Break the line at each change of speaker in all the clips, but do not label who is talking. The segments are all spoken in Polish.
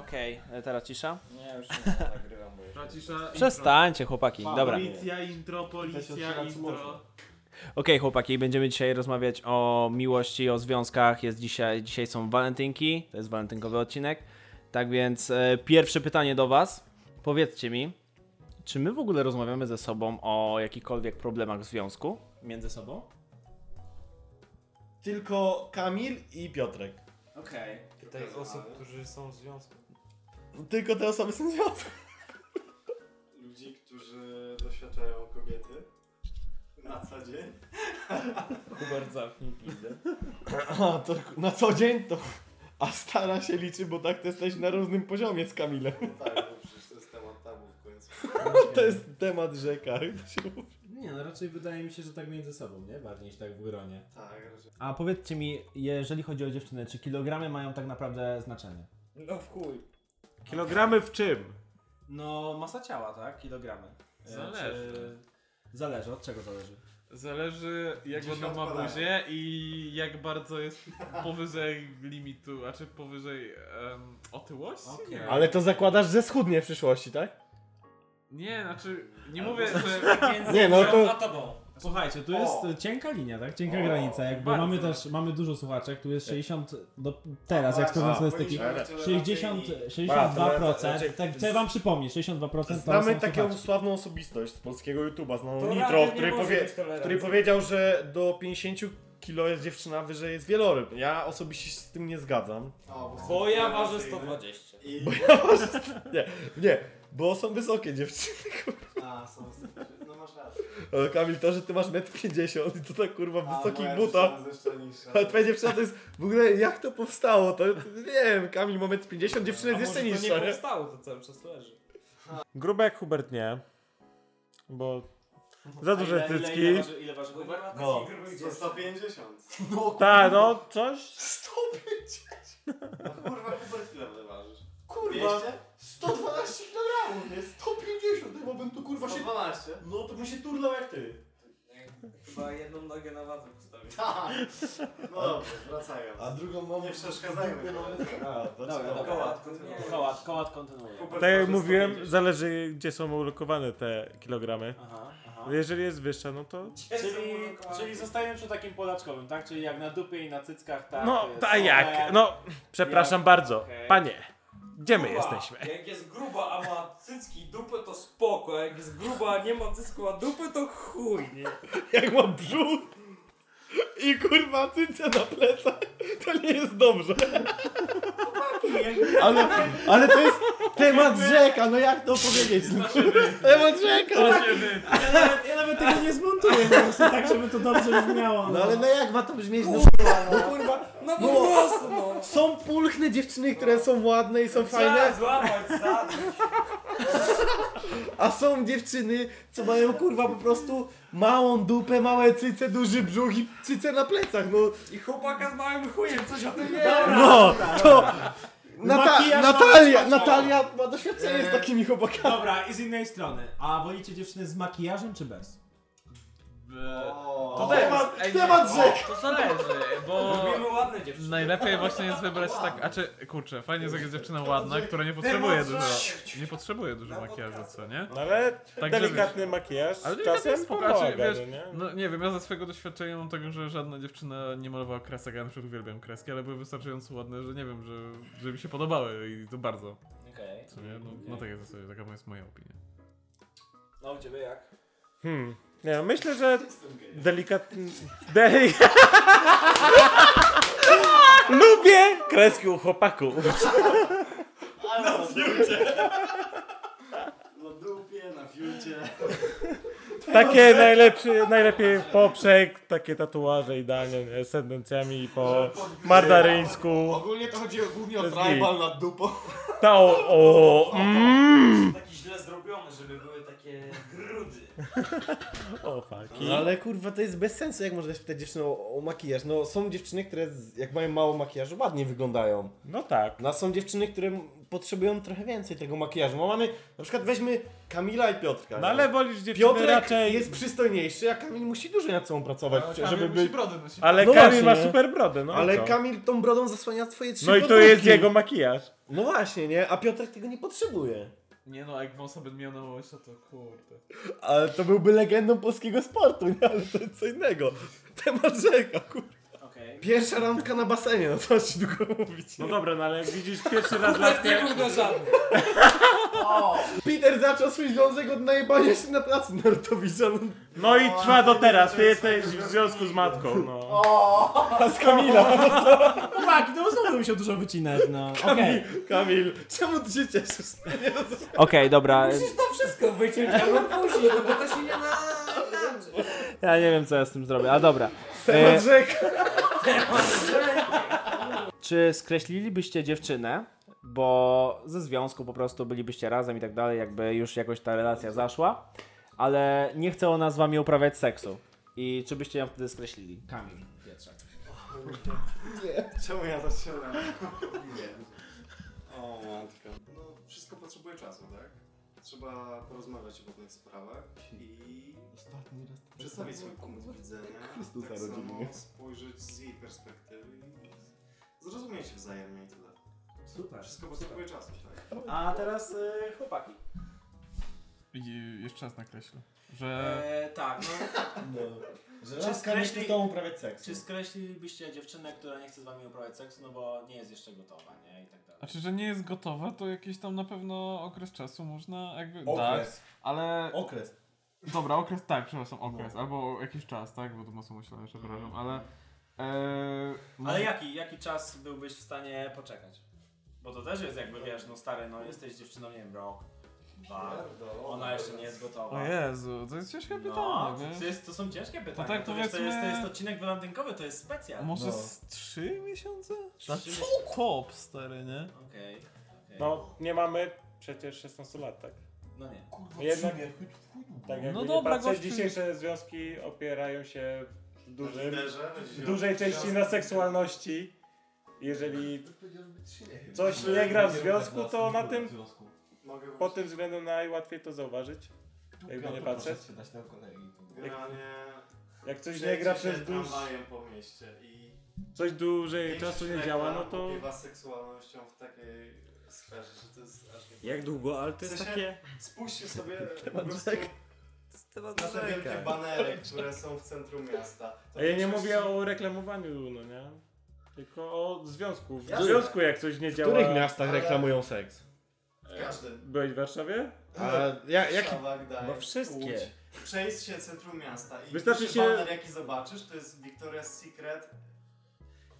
Okej, e, teraz cisza.
Nie, już nie nagrywam, bo już...
Ta cisza,
Przestańcie, chłopaki, dobra. Okej,
Policja, intro,
Chcecie otwierać,
policja,
co
intro.
można.
chłopaki, będziemy dzisiaj rozmawiać o miłości, o związkach. Jest dzisiaj, dzisiaj są walentynki, to jest walentynkowy odcinek. Tak więc e, pierwsze pytanie do was. Powiedzcie mi, czy my w ogóle rozmawiamy ze sobą o jakichkolwiek problemach w związku? Między sobą?
Tylko Kamil i Piotrek.
Okej.
Tych osób, którzy są w związku.
Tylko te osoby są w związku.
ludzi, którzy doświadczają kobiety na co dzień.
Hubert zamknij A, to ku- na co dzień to... A stara się liczy, bo tak to jesteś na różnym poziomie z Kamilem. No,
No tak, bo przecież to jest temat tabu w końcu.
To jest temat rzeka. To się mówi.
Nie, no raczej wydaje mi się, że tak między sobą, nie? Bardziej niż tak w gronie.
Tak, że
A powiedzcie mi, jeżeli chodzi o dziewczyny, czy kilogramy mają tak naprawdę znaczenie?
No w chuj.
Kilogramy w czym?
No, masa ciała, tak? Kilogramy. E,
Zależy.
Czy... Zależy, od czego zależy?
Zależy jak
Gdzie się
będą ma
odpalają.
buzię i jak bardzo jest powyżej limitu, a czy powyżej em, otyłości?
Okej.
Nie.
Ale to zakładasz, że schudnie w przyszłości, tak?
nie, znaczy nie mówię, że...
Nie, no
A
to...
tobą.
Słuchajcie, tu jest
O!
e, cienka linia, tak? Cienka
O,
granica. Jakby
bardzo.
mamy też, mamy dużo słuchaczek, tu jest 60, do, teraz jak sprawdzam
A,
statystyki,
powinniśmy raczej
60,
A, to
62%,
raczej-
tak chcę wam przypomnieć, 62% to
Znamy
są
taką
słuchacze.
sławną osobistność z polskiego YouTuba,
To
znaną
raczej
Nitro,
nie
który,
może
powie...
być tolerancji.
który powiedział, że do 50 kilo jest dziewczyna, wyżej jest wieloryb. Ja osobiście się z tym nie zgadzam.
O, bo są
Bo ja
tolerancyjne
ważę 120.
I...
Nie, bo są wysokie dziewczyny.
A, są... No masz rację.
Ale Kamil, to, że ty masz 1,50 m i to tak kurwa w
A,
wysokich
moja
butach.
dziewczyna jest jeszcze niższa.
Ale twoja dziewczyna to jest, w ogóle jak to powstało, to nie wiem, Kamil ma 1,50 m, dziewczyna
A
jest
może
jeszcze
to nie
niższa, nie?
powstało, to cały czas leży.
Grube jak Hubert nie, bo
A
za duże
ile, ile,
cycki.
ile waży, ile waży
Uber ma
No.
taki gruby
Co 150?
Tak, no coś.
No kurwa, Hubert ile wyważysz? Kurwa, 112 kg, nie? 150, ja bym tu kurwa 112?
No to mi się turlał jak ty.
Chyba jedną nogę na wadze postawił.
Tak. No dobrze, wracając.
drugą mam...
Nie przeszkadzajmy.
Dobra, dobra.
Kołat,
Kołat, kołat kontynuuje.
Hubert
Tak jak
waży
mówiłem,
150.
zależy gdzie są ulokowane te kilogramy.
Aha, aha.
Jeżeli jest wyższa, no to.
Czyli, czyli zostajemy przy takim polaczkowym, tak? Czyli jak na dupie i na cyckach, tak?
No,
to jest
tak jak?
Omen.
No, przepraszam bardzo.
Okej.
Panie, gdzie my
Gruba.
jesteśmy?
Jak jest gruba, a ma cycki i dupę, to spoko. Jak jest gruba, a nie ma cycku, a dupy, to chuj, nie?
Jak mam brzuch i kurwa cycja na plecach, to nie jest dobrze. Ale, ale to jest temat rzeka, no jak to powiedzieć? Temat rzeka!
Ja nawet, ja nawet tego nie zmontuję po prostu, tak żeby to dobrze brzmiało.
No ale no jak ma to brzmieć? No,
No kurwa, no po prostu, no.
są pulchne dziewczyny, które są ładne i są
Trzeba
fajne,
złapać tak. za
a są dziewczyny, co mają kurwa po prostu małą dupę, małe cyce, duży brzuch i cyce na plecach, no.
I chłopaka z małym chujem, coś o tym wie.
No, to... Nata-
Makijaż ma
Natalia,
wyspać,
no.
Natalia ma doświadczenie z takimi chłopakami.
Dobra, i z innej strony, a wolicie dziewczyny z makijażem czy bez?
O.
To
Temat,
Ej,
temat
nie,
rzeka!
To zależy, bo...
Lubimy ładne dziewczyny.
Najlepiej właśnie jest wybrać tak, a czy, kurczę, fajnie jest jak jest dziewczyna ładna, która nie potrzebuje dużo, nie potrzebuje dużo makijażu, co nie?
No ale
Tak,
delikatny makijaż
Ale delikatny
czasem
spoko, raczej,
pomaga,
wiesz,
no nie?
No nie wiem, ja ze swojego doświadczenia mam tego, że żadna dziewczyna nie malowała kresek, a ja na przykład uwielbiam kreski, ale były wystarczająco ładne, że nie wiem, że, że mi się podobały i to bardzo.
Okej.
Co nie? No, no tak jest w zasadzie, taka jest moja opinia.
No u ciebie jak?
Hmm. Nie, myślę, że
Jestem gejem.
delikatny... Delik... Lubię kreski u chłopaków.
Ale na fiucie. No dupie, na fiucie.
Takie najlepsze, najlepiej w poprzek, takie tatuaże idealnie, nie? z tendencjami po mardaryńsku.
Ogólnie to chodzi głównie
To jest tribal
nad dupą.
Ta o, o, mm.
Taki źle zrobiony, żeby były takie grudy.
o faki.
No ale kurwa, to jest bez sensu, jak można pytać dziewczynę o, o makijaż. No są dziewczyny, które z, jak mają mało makijażu, ładnie wyglądają.
No tak.
No a są dziewczyny, które potrzebują trochę więcej tego makijażu. Bo mamy, na przykład weźmy Kamila i Piotrka.
No ale wolisz dziewczynę
Piotrek
raczej...
jest przystojniejszy, a Kamil musi dużo nad sobą pracować, żeby
No, musi
być...
brodę nosić.
Ale
No
Kamil
właśnie,
ma
nie?
super brodę, no i
Ale
co?
Kamil tą brodą zasłania twoje trzy
No i to
brodówki.
jest jego makijaż.
No właśnie, nie? A Piotrek tego nie potrzebuje.
Nie no, a jak wąsa by miał na łyso, to kurde.
Ale to byłby legendą polskiego sportu, nie? Ale to jest co innego. Temat rzeka, kurwa.
Okej.
Pierwsza randka na basenie, no co ci długo mówić,
No
nie?
dobra, no ale jak widzisz pierwszy raz
Nawet
laskę...
nie był na żadnym.
Peter zaczął swój związek od najebania się na placu narutowicza, no
No i trwa do teraz, ty jesteś w związku z matką, no.
a z Kamila.
Chłopaki, no znowu mi się dużo wycinać, no. Okej.
Kamil, czemu ty się cieszysz?
Okej, dobra.
Przecież to wszystko wyciąć, a on później, no bo to się nie na... inaczej.
Ja nie wiem co ja z tym zrobię, a dobra. E,
Temat rzeka.
czy skreślilibyście dziewczynę, bo ze związku po prostu bylibyście razem i tak dalej, jakby już jakoś ta relacja zaszła, ale nie chce ona z wami uprawiać seksu. I czy byście ją wtedy skreślili? Kamil, Pietrzak.
Czemu ja zaczynam? Nie. O matko. No, wszystko potrzebuje czasu, tak? Trzeba porozmawiać o pewnych sprawach i
tak
przedstawić swój punkt widzenia. Tak samo spojrzeć z jej perspektywy i zrozumieć się wzajemnie i tyle.
Super.
Wszystko potrzebuje czasu, tak?
A teraz y, chłopaki.
I jeszcze raz nakreślę, że...
E, tak, no.
Że
Czy
laska nie chce
skreśli-
z tobą uprawiać seks.
Czy skreślilibyście dziewczynę, która nie chce z wami uprawiać seksu, no bo nie jest jeszcze gotowa, nie? I tak dalej.
Znaczy, że nie jest gotowa, to jakiś tam na pewno okres czasu można jakby
Tak.
dać,
Okres.
ale...
Okres.
Dobra, okres, tak, przepraszam, okres, albo jakiś czas, tak, bo to mocno myślałem, przepraszam, ale... E,
Ale jaki, jaki czas byłbyś w stanie poczekać? Bo to też jest jakby, wiesz, no stary, no jesteś dziewczyną, nie wiem, rok, dwa, ona jeszcze nie jest gotowa.
O Jezu, to jest ciężkie
No,
pytanie,
to,
wiesz?
jest, to są ciężkie pytania.
tak
to, wiesz, to, jest, to
powiedzmy-
jest odcinek walentynkowy, to jest specjal.
Może
No.
z trzy miesiące?
Na
co? Top, stary, nie?
Okej. okej.
No, nie mamy przecież 16 lat, tak?
No nie.
Jednak, tak jakby
No
no
dobra,
dobra, patrzeć,
gościu.
dzisiejsze związki opierają się w, dużym,
Liderze,
w dużej części na seksualności. Jeżeli coś
Że
nie gra w
nie
związku, to na tym,
Mogę
pod tym względem najłatwiej to zauważyć. Jakby nie patrzeć.
Generalnie
Jak coś nie gra przez dłuż,
tramwajem po mieście i
coś dłużej
większość
czasu nie
reklam
działa, no to...
opiewa seksualnością w takiej sferze, że to jest aż nie... tak.
Jak długo, ale to
W
jest
sensie-
takie...
Spójrzcie sobie po prostu na te wielkie
Rzeka.
banery, które są w centrum miasta. To
A ja nie
większości-
mówię o reklamowaniu, no nie? Tylko o związku. W
Jasne.
związku jak coś nie
W
działa...
których miastach
Ale-
reklamują seks?
W każdym.
Byłeś w Warszawie?
A ja, jak,
Warszawa, Gdańsk,
No wszystkie.
Łódź. Przejdź się centrum miasta i
Wystarczy
pierwszy
się-
baner jaki zobaczysz to jest Victoria's Secret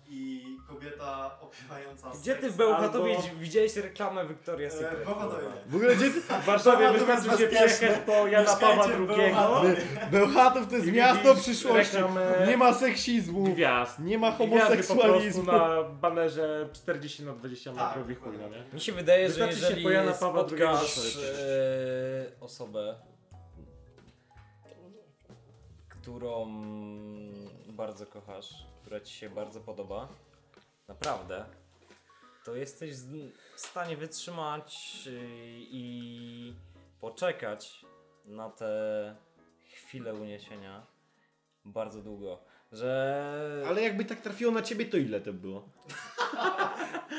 i kobieta opiewająca
Gdzie ty w
seks.
no
Bełchatowie widziałeś reklamę Victoria's
E,
Secret?
Bełchatowie.
w ogóle gdzie ty...
Tak, W Warszawie wystarczy się przejechać po Jana Pawła
Mieszkajcie w
II.
Bełchatowie.
Bełchatów to jest
I
miasto
widzisz
przyszłości.
reklamę
Nie ma seksizmu.
Gwiazd.
Nie ma
Gwiazdy po prostu
homoseksualizmu.
na banerze 40 na 20
Tak,
metrów i chuj, no nie?
Mi się wydaje, że
Wystarczy się
jeżeli
po Jana Pawła II
spotkasz
zacząć.
e, osobę, którą bardzo kochasz, która ci się bardzo podoba, naprawdę, to jesteś z- w stanie wytrzymać e, i poczekać na te chwile uniesienia bardzo długo. Że,
Ale jakby tak trafiło na ciebie, to ile to było?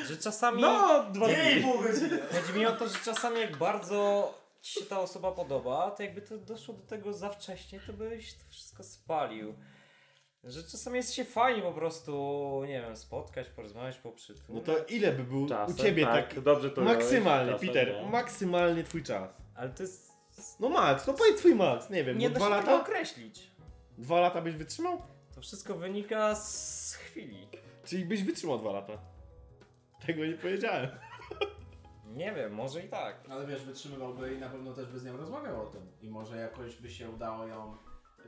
że czasami...
No, dwa
Nie i
dni.
pół godziny.
Chodzi mi o to, że czasami jak bardzo ci się ta osoba podoba, to jakby to doszło do tego za wcześnie, to byś to wszystko spalił. Że czasami jest się fajnie po prostu, nie wiem, spotkać, porozmawiać, poprzytulać.
No to ile by był
Czasem,
u ciebie tak?
dobrze to
maksymalnie,
robisz, czasem no.
Peter,
nie.
maksymalnie twój czas.
Ale to jest...
No max, no powiedz twój max, nie wiem,
Nie
no
da
dwa
się tego
lata?
określić.
Dwa lata byś wytrzymał?
To wszystko wynika z chwili.
Czyli byś wytrzymał dwa lata. Tego nie powiedziałem.
Nie wiem, może i tak.
Ale wiesz, wytrzymywałby i na pewno też by z nią rozmawiał o tym. I może jakoś by się udało ją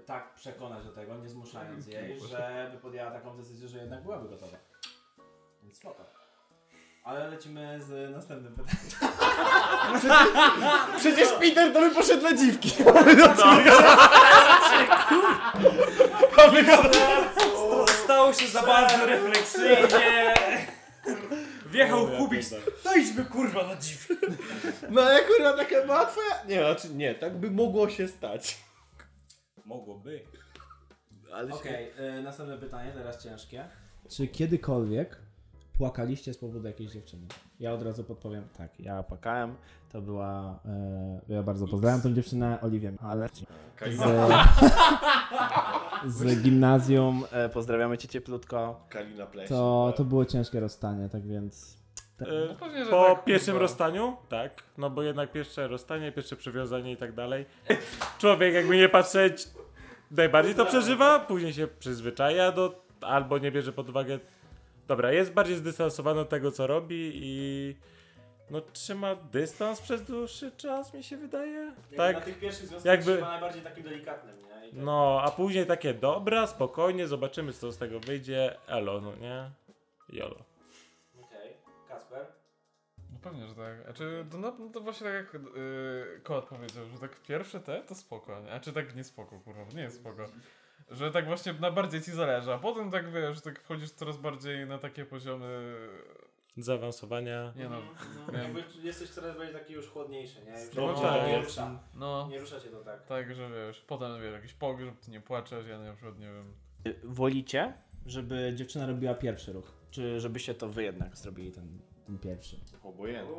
tak przekonać do tego, nie zmuszając jej, żeby podjęła taką decyzję, że jednak byłaby gotowa. Więc spoko. Ale lecimy z następnym pytaniem.
Przecież Peter to by poszedł na dziwki.
Tak. Stało się za bardzo refleksyjnie.
Wjechał Kubis.
To idźmy kurwa na dziw.
No ale kurwa takie łatwe? Nie, znaczy nie, tak by mogło się stać.
Mogłoby.
Ale się...
Okej, y, następne pytanie, teraz ciężkie. Czy kiedykolwiek płakaliście z powodu jakiejś dziewczyny? Ja od razu podpowiem, tak, ja płakałem, to była, y, ja bardzo pozdrawiam tą dziewczynę, Oliwię, ale z, z gimnazjum, e, pozdrawiamy cię cieplutko,
Kalina Pleś.
to, to było ciężkie rozstanie, tak więc...
E,
No pewnie, że
Po
tak,
pierwszym
kurwa.
rozstaniu? Tak. No bo jednak pierwsze rozstanie, pierwsze przywiązanie i tak dalej. Człowiek jakby nie patrzeć najbardziej to przeżywa, później się przyzwyczaja do albo nie bierze pod uwagę. Dobra, jest bardziej zdystansowany od tego co robi i no trzyma dystans przez dłuższy czas mi się wydaje.
Na
Tak.
tych pierwszych związkach
jakby-
chyba najbardziej takim delikatnym, nie? I tak-
No, a później takie dobra, spokojnie, zobaczymy co z tego wyjdzie. Elo, no nie? Jolo.
Okej, Kasper?
No pewnie, że tak. A czy to, no, no to właśnie tak jak yy, Kołat powiedział, że tak pierwsze te to spoko, nie? a czy tak nie spoko, kurwa, nie jest spoko. Że tak właśnie na bardziej ci zależy, a potem tak wiesz, że tak wchodzisz coraz bardziej na takie poziomy.
Zaawansowania.
Nie no,
No, jakby jesteś coraz bardziej taki już chłodniejszy, nie? Już
No
nie,
tak.
nie, rusza,
no.
nie rusza cię to tak.
Tak, że wiesz, potem wiesz, jakiś pogrzeb, ty nie płaczesz, ja na przykład nie wiem.
Wolicie, żeby dziewczyna robiła pierwszy ruch? Czy żebyście to wy jednak zrobili ten, ten pierwszy?
Obojętne.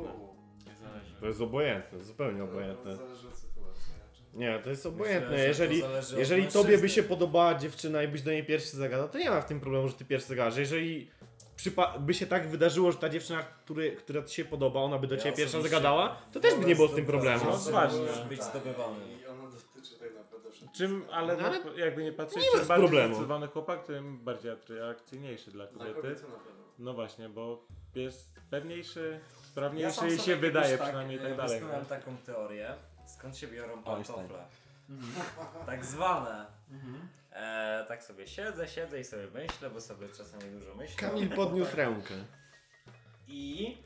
Nie zależy.
To jest obojętne, zupełnie obojętne.
Zależy od sytuacji. raczej.
Nie, to jest
Myślę,
obojętne.
że to
Jeżeli,
zależy od
jeżeli
mężczyzny.
tobie by się podobała dziewczyna i byś do niej pierwszy zagadał, to nie ma w tym problemu, że ty pierwszy zagadasz. Jeżeli przypa- by się tak wydarzyło, że ta dziewczyna, który, która ci się podoba, ona by do ciebie pierwsza
osobiście
zagadała, to też by nie było z tym problemu.
No właśnie.
Możesz być zdobywany.
Tak. I ona dotyczy tak naprawdę wszystkich.
Czym, ale,
No,
no,
ale
jakby nie patrzeć,
nie ma
czym bardziej
problemu.
zdecydowany chłopak, tym bardziej atrakcyjniejszy dla
Tak.
Dla
kobiety.
kobiety na pewno.
No właśnie, bo jest pewniejszy,
Ja
sprawniejszy
sam
i
sobie
się
kiedyś
wydaje
tak,
przynajmniej i
e,
tak dalej.
Wysnułem taką teorię, skąd się biorą pantofle.
Mhm.
Tak zwane. E, tak sobie siedzę, siedzę i sobie myślę, bo sobie czasami dużo myślę.
Kamil podniósł rękę.
I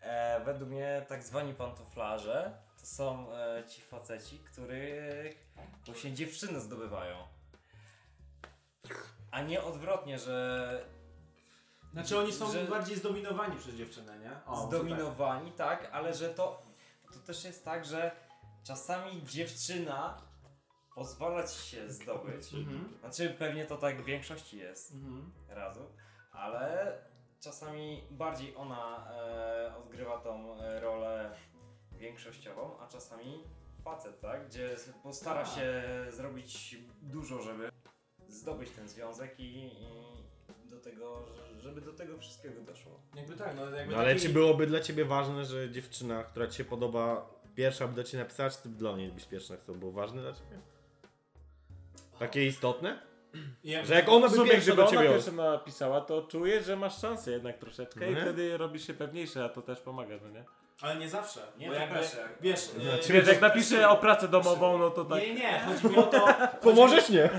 e, według mnie tak zwani pantoflarze to są e, ci faceci, których właśnie dziewczyny zdobywają. A nie odwrotnie, że
Znaczy oni są
Że-
bardziej zdominowani przez dziewczynę, nie? może
zdominowani, tak. ale że to, to też jest tak, że czasami dziewczyna pozwala ci się zdobyć.
tak. Mhm.
Znaczy pewnie to tak w większości jest
Mhm.
razu, ale czasami bardziej ona e, odgrywa tą e, rolę większościową, a czasami facet, tak? Gdzie s- postara
Tak.
się zrobić dużo, żeby zdobyć ten związek i, i do tego, ż- żeby do tego wszystkiego doszło.
Jakby tak, no jakby
No, ale
taki-
czy byłoby dla ciebie ważne, że dziewczyna, która ci się podoba, pierwsza by do ciebie napisała, czy ty dla niej byś pierwsza? To było ważne dla ciebie? Takie istotne?
jakby- tak,
Że jak ona
W
by
sumie,
pierwsza
gdyby
do
ona
ciebie...
pierwsza napisała, to czujesz, że masz szansę jednak troszeczkę i
Mhm.
wtedy robisz się pewniejszy, a to też pomaga, no nie?
Ale nie zawsze.
Nie,
bo
to
jakby,
też jak-
wiesz,
No,
e,
czy-
Wiesz, jak napiszę o pracę domową, no to tak...
nie, nie, chodzi mi o to,
Pomożesz? Nie.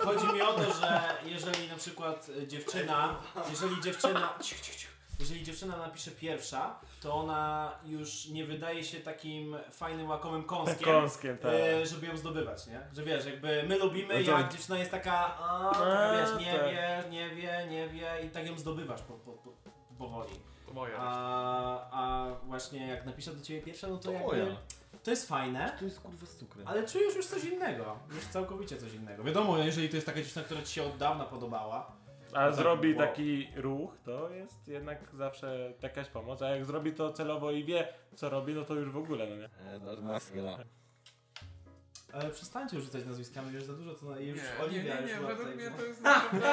chodzi mi o to, że jeżeli na przykład e, dziewczyna, jeżeli dziewczyna, ciu, ciu, ciu, jeżeli dziewczyna napisze pierwsza, to ona już nie wydaje się takim fajnym, łakomym kąskiem.
Kąskiem, tak.
e, żeby ją zdobywać, nie? Że wiesz, jakby my lubimy,
No to-
jak dziewczyna jest taka, a, taka
A,
wiesz, nie
tak.
wie, nie wie, nie wie i tak ją zdobywasz po, po, po, powoli.
To moja.
A, a właśnie jak napisze do ciebie pierwsza, no to,
To
jakby,
moja.
to jest fajne,
To jest kurwa z cukrem.
ale czujesz już coś innego, już całkowicie coś innego. Wiadomo, jeżeli to jest taka dziewczyna, która ci się od dawna podobała,
A zrobi
wow.
taki ruch, to jest jednak zawsze jakaś pomoc, a jak zrobi to celowo i wie, co robi, no to już w ogóle, no nie?
ale przestańcie rzucać nazwiskami, już za dużo to na, już
Nie, nie,
Oliwia
nie,
już
nie,
była
według
tutaj,
mnie
no.
to jest naprawdę...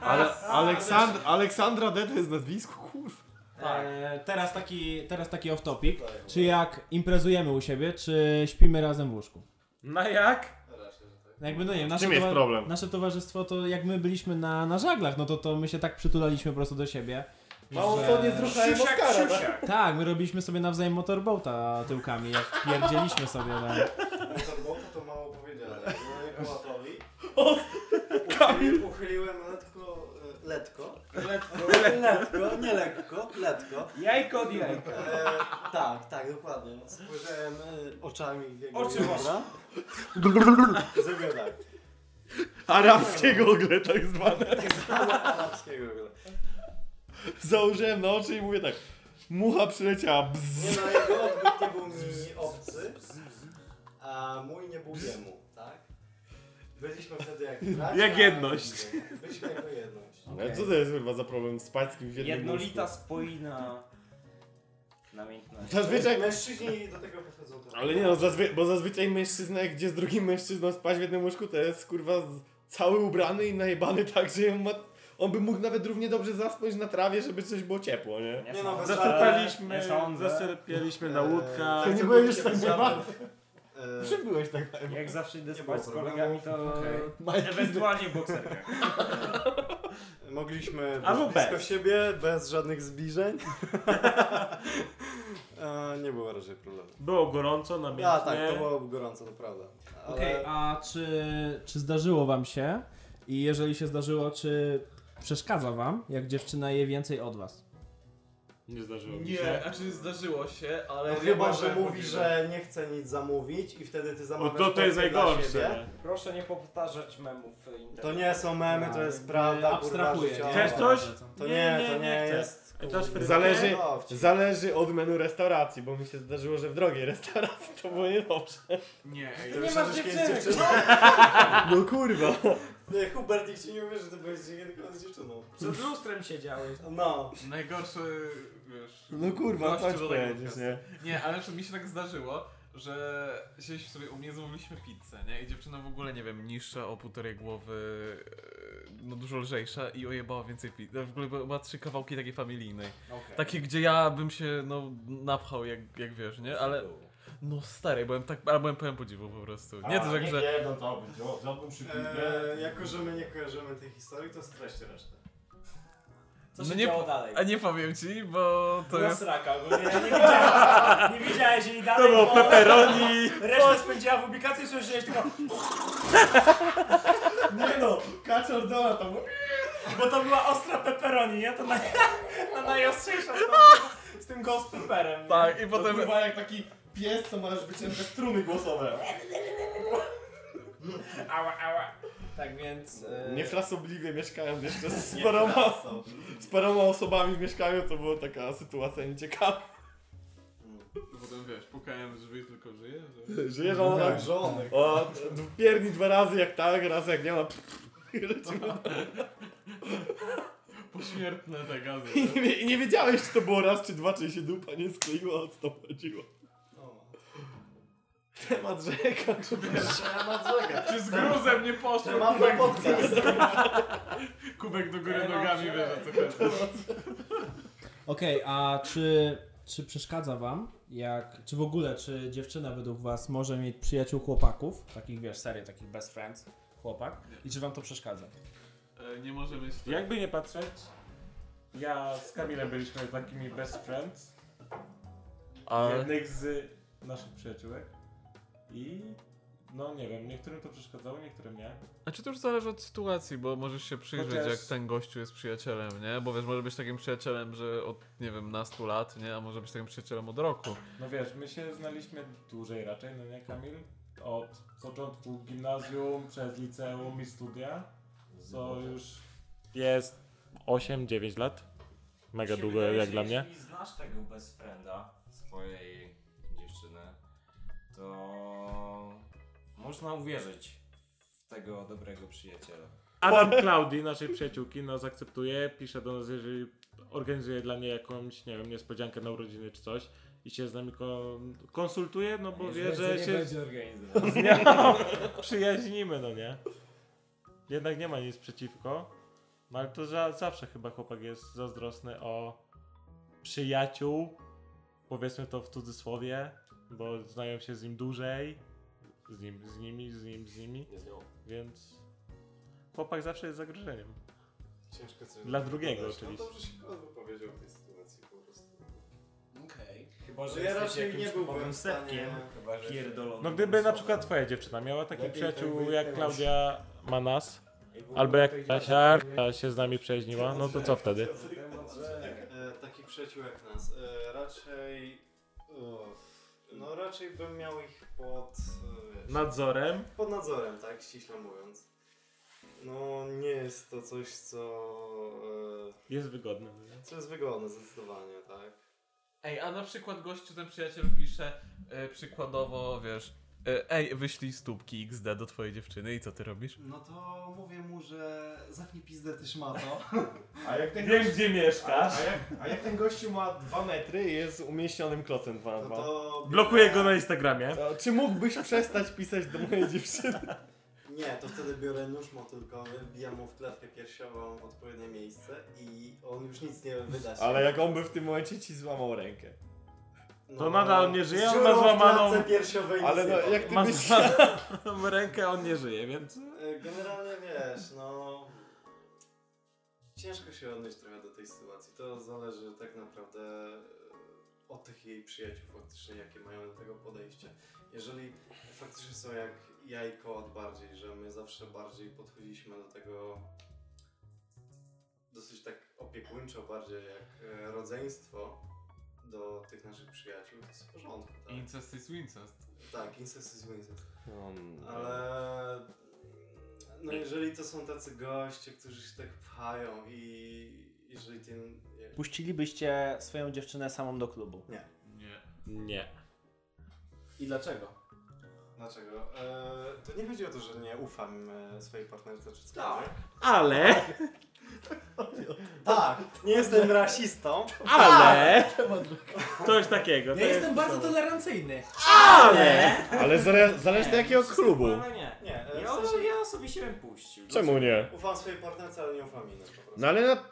Ale, Aleksandr, Aleksandra D to jest nazwisko, kurwa.
E, teraz taki, teraz taki off topic. Czy jak imprezujemy u siebie, czy śpimy razem w łóżku?
Na jak?
No Jakby, no nie, wiem, nasze,
czym jest
towa-
problem?
nasze towarzystwo to jak my byliśmy na, na żaglach, no to, to my się tak przytulaliśmy po prostu do siebie. że-
zruszałem Oscara, tak?
Tak, my robiliśmy sobie nawzajem motorboata tyłkami, jak pierdzieliśmy sobie no. na...
Motorbota to mało powiedziane. No i Kołatowi. Uchyli, uchyliłem letko, e, letko, letko, letko, nie lekko, letko.
Jajko od jajka.
E, tak, tak, dokładnie. Spojrzałem e, oczami w jego
Oczy
ramiona. Zrobiłem tak.
Arabskiego ogle tak zwane.
Arabskiego w ogóle.
założyłem na oczy i mówię tak, mucha przyleciała, bzz.
Nie no, jego odbyt nie był mi obcy, a mój nie był jemu, tak? Byliśmy wtedy jak bracia,
Jak jedność.
Byliśmy jako jedność.
Ale co to jest kurwa za problem z pańskim w jednym
Jednolita
łóżku?
spójna namiętność.
Zazwyczaj...
Mężczyźni do tego podchodzą tak.
Ale nie no, zazwy... bo zazwyczaj mężczyzna, jak gdzie z drugim mężczyzną spać w jednym łóżku, to jest kurwa z- cały ubrany i najebany tak, że on, ma... on by mógł nawet równie dobrze zasnąć na trawie, żeby coś było ciepło, nie?
Nie
Nie
są-
no, bez E,
Zasypaliśmy,
Nie sądzę. Eee,
zasypialiśmy na łódkach.
To nie
co
byłeś
byliście
tak
bez
zjebany?
żartów? E,
byłeś tak na
Jak zawsze idę
Nie
spać z
było problemu.
kolegami, to ewentualnie w bokserkach.
Mogliśmy
Albo
być blisko
bez.
siebie, bez żadnych zbliżeń. e, nie było raczej problemu.
Było gorąco, namiętnie.
A tak, to było gorąco, to prawda. Ale
Okej, a czy, czy zdarzyło wam się? I jeżeli się zdarzyło, czy przeszkadza wam, jak dziewczyna je więcej od was?
Nie zdarzyło mi się.
Nie, znaczy zdarzyło się, ale...
no
nie
chyba,
mam
że
pewności,
mówi, że nie chce nic zamówić i wtedy ty
O,
zamawiasz
to, to jest
porcję dla siebie.
najgorsze.
Proszę nie powtarzać memów internetowych.
To nie są memy, to jest prawda, kurwa
Abstrahuję.
życiowa.
Chcesz coś?
To nie, to nie
chcę.
jest...
Ej, dasz frytkę?
Zależy,
No, wci-
zależy od menu restauracji, bo mi się zdarzyło, że w drogiej restauracji to było niedobrze.
Nie, ej,
Ty wyszedłeś kiedyś z dziewczyną?
No kurwa.
Nie, Hubert, nikt ci nie uwierzy, że ty byłeś z- tylko z dziewczyną.
Przed lustrem siedziałeś.
No.
najgorszy, wiesz...
No kurwa,
gościu
chodź
do tego
powiedzieć,
podcastu.
nie?
Nie, ale że mi się tak zdarzyło, że siedzieliśmy sobie u mnie, zamówiliśmy pizzę, nie? I dziewczyna w ogóle, nie wiem, niższa o półtorej głowy, e, no dużo lżejsza i ojebała więcej pizzy. W ogóle była była trzy kawałki takiej familijnej. Takie, gdzie ja bym się, no, napchał, jak, jak wiesz, nie? Ale, no stary, byłem tak, ale byłem pełen podziwu po prostu. Nie to tak, że...
no
Jedno to będzie, o, załóżmy
Eee,
E, jako, że my nie kojarzymy tej historii, to streście resztę.
Co
No
się
nie-
działo dalej?
A nie powiem ci, bo to
Była
jest...
sraka, bo nie, nie, widziałeś, nie widziałeś jej dalej,
To było
bo
pepperoni.
resztę spędziła w publikacji, słyszałeś tylko...
Nie no, kaczor dola to mówi.
Bo to była ostra pepperoni, nie? To na, na najostrzejsza z tym ghost pepperem. nie?
Tak, i potem...
jak taki pies, co masz wycięte struny głosowe.
Ała, ała. Tak więc... e,
Niefrasobliwie mieszkając jeszcze z paroma, z paroma osobami w mieszkaniu, to była taka sytuacja nieciekawa.
Potem, wiesz, pukałem, żeby tylko żyje, że...
Żyje
Tak.
żona.
tak.
żonek.
O, d- pierni dwa razy jak tak, raz jak nie ma. I lecimy.
Pośmiertne te gazy.
I nie, wie- I nie wiedziałeś, czy to było raz, czy dwa, czy się dupa nie skleiła, o co to chodziło. Temat rzeka.
Temat rzeka.
Czy z gruzem nie poszło?
Temat na podcast.
Kubek do góry nogami, wiesz o co chodzi.
Okej, a czy, czy przeszkadza wam, jak, czy w ogóle, czy dziewczyna według was może mieć przyjaciół chłopaków, takich wiesz, serio, takich best friends, chłopak, i czy wam to przeszkadza?
E, Nie możemy myśleć.
Jakby nie patrzeć, ja z Kamilem byliśmy takimi best friends. Jednych z naszych przyjaciółek. I no nie wiem, niektórym to przeszkadzało, niektórym nie.
A czy Znaczy, to już zależy od sytuacji, bo możesz się przyjrzeć,
Chociaż-
jak ten gościu jest przyjacielem, nie? Bo wiesz, może być takim przyjacielem, że od, nie wiem, nastu lat, nie? A może być takim przyjacielem od roku.
No wiesz, my się znaliśmy dłużej raczej, no nie Kamil? Od początku gimnazjum, przez liceum i studia. Co już jest 8-9 lat. Mega
Mi się
długo
wydaje,
jak
że
dla mnie.
Jeśli znasz tego best frienda, swojej dziewczyny, to można uwierzyć w tego dobrego przyjaciela.
Adam Klaudi, naszej przyjaciółki, nas akceptuje, pisze do nas, jeżeli organizuje dla niej jakąś, nie wiem, niespodziankę na urodziny czy coś i się z nami kon- konsultuje, no bo wie, że się
będzie organizował.
z nią przyjaźnimy, no nie? Jednak nie ma nic przeciwko, no ale to za- zawsze chyba chłopak jest zazdrosny o przyjaciół, powiedzmy to w cudzysłowie, bo znają się z nim dłużej, z nim, z nimi, z nim, z nimi. Więc chłopak zawsze jest zagrożeniem.
Ciężko coś
Dla drugiego
dodać.
oczywiście.
No dobrze się Kozło powiedział w tej sytuacji po prostu.
Okej.
Chyba, że
No Ja
jesteś
raczej
jakimś
nie byłbym
typowym
w stanie-
sepkiem. Chyba, że
Pierdolony.
No gdyby na przykład twoja dziewczyna miała takich
Lepiej tak
przyjaciół
by
jak
było.
Klaudia ma nas, albo jak Kasia się z nami przyjaźniła, no to co wtedy?
E, takich przyjaciół jak nas. E, raczej... O, no raczej bym miał ich pod... E, wiesz,
Nadzorem.
pod nadzorem, tak? Ściśle mówiąc. No nie jest to coś, co,
Jest wygodne.
e, co jest wygodne zdecydowanie, tak?
Ej, a na przykład gościu, ten przyjaciel pisze e, przykładowo, wiesz, e, ej, wyślij stópki XD do twojej dziewczyny i co ty robisz?
No to mówię mu, że zamknij pizdę ty szmato.
A jak ten
Wiem, gdzie
A,
mieszkasz.
a, jak, a jak ten gościu ma 2 metry i jest umieśnionym klocem 2 na
No
2?
to...
Blokuję go na Instagramie.
To No, Czy mógłbyś przestać pisać do mojej dziewczyny?
Nie, to wtedy biorę nóż motylkowy, wbijam mu w klatkę piersiową w odpowiednie miejsce i on już nic nie wyda się.
Ale jak on by w tym momencie ci złamał rękę.
No,
To nadal nie żyje,
z
on
dziurą
ma
w
złamaną-
klatce piersiowej
Ale
nic
no,
nie powiem.
jak ty
Masz
byś...
złamaną rękę, on nie żyje, więc...
E, Generalnie wiesz, no. Ciężko się odnieść trochę do tej sytuacji. To zależy tak naprawdę e, od tych jej przyjaciół faktycznie, jakie mają do tego podejście. Jeżeli faktycznie są jak ja i Kołat bardziej, że my zawsze bardziej podchodziliśmy do tego dosyć tak opiekuńczo bardziej jak e, rodzeństwo do tych naszych przyjaciół, to jest w porządku, tak?
Incest is incest.
Tak, incest is incest. Ale no jeżeli to są tacy goście, którzy się tak pchają i jeżeli tym...
Puścilibyście swoją dziewczynę samą do klubu.
Nie.
Nie.
I dlaczego?
Dlaczego? E, to nie chodzi o to, że nie ufam e, swojej partnerce czy cokolwiek.
Ale,
Tak, nie jestem rasistą,
ale... Coś takiego. to
Ja
jest-
jestem bardzo tolerancyjny.
Ale!
Ale zale- zależy do jakiego klubu.
Ale nie.
Nie, e, w
ja,
sensie-
ja osobiście bym puścił.
Czemu nie?
ufam swojej partnerce, ale nie ufam innym po prostu.
No ale... Na...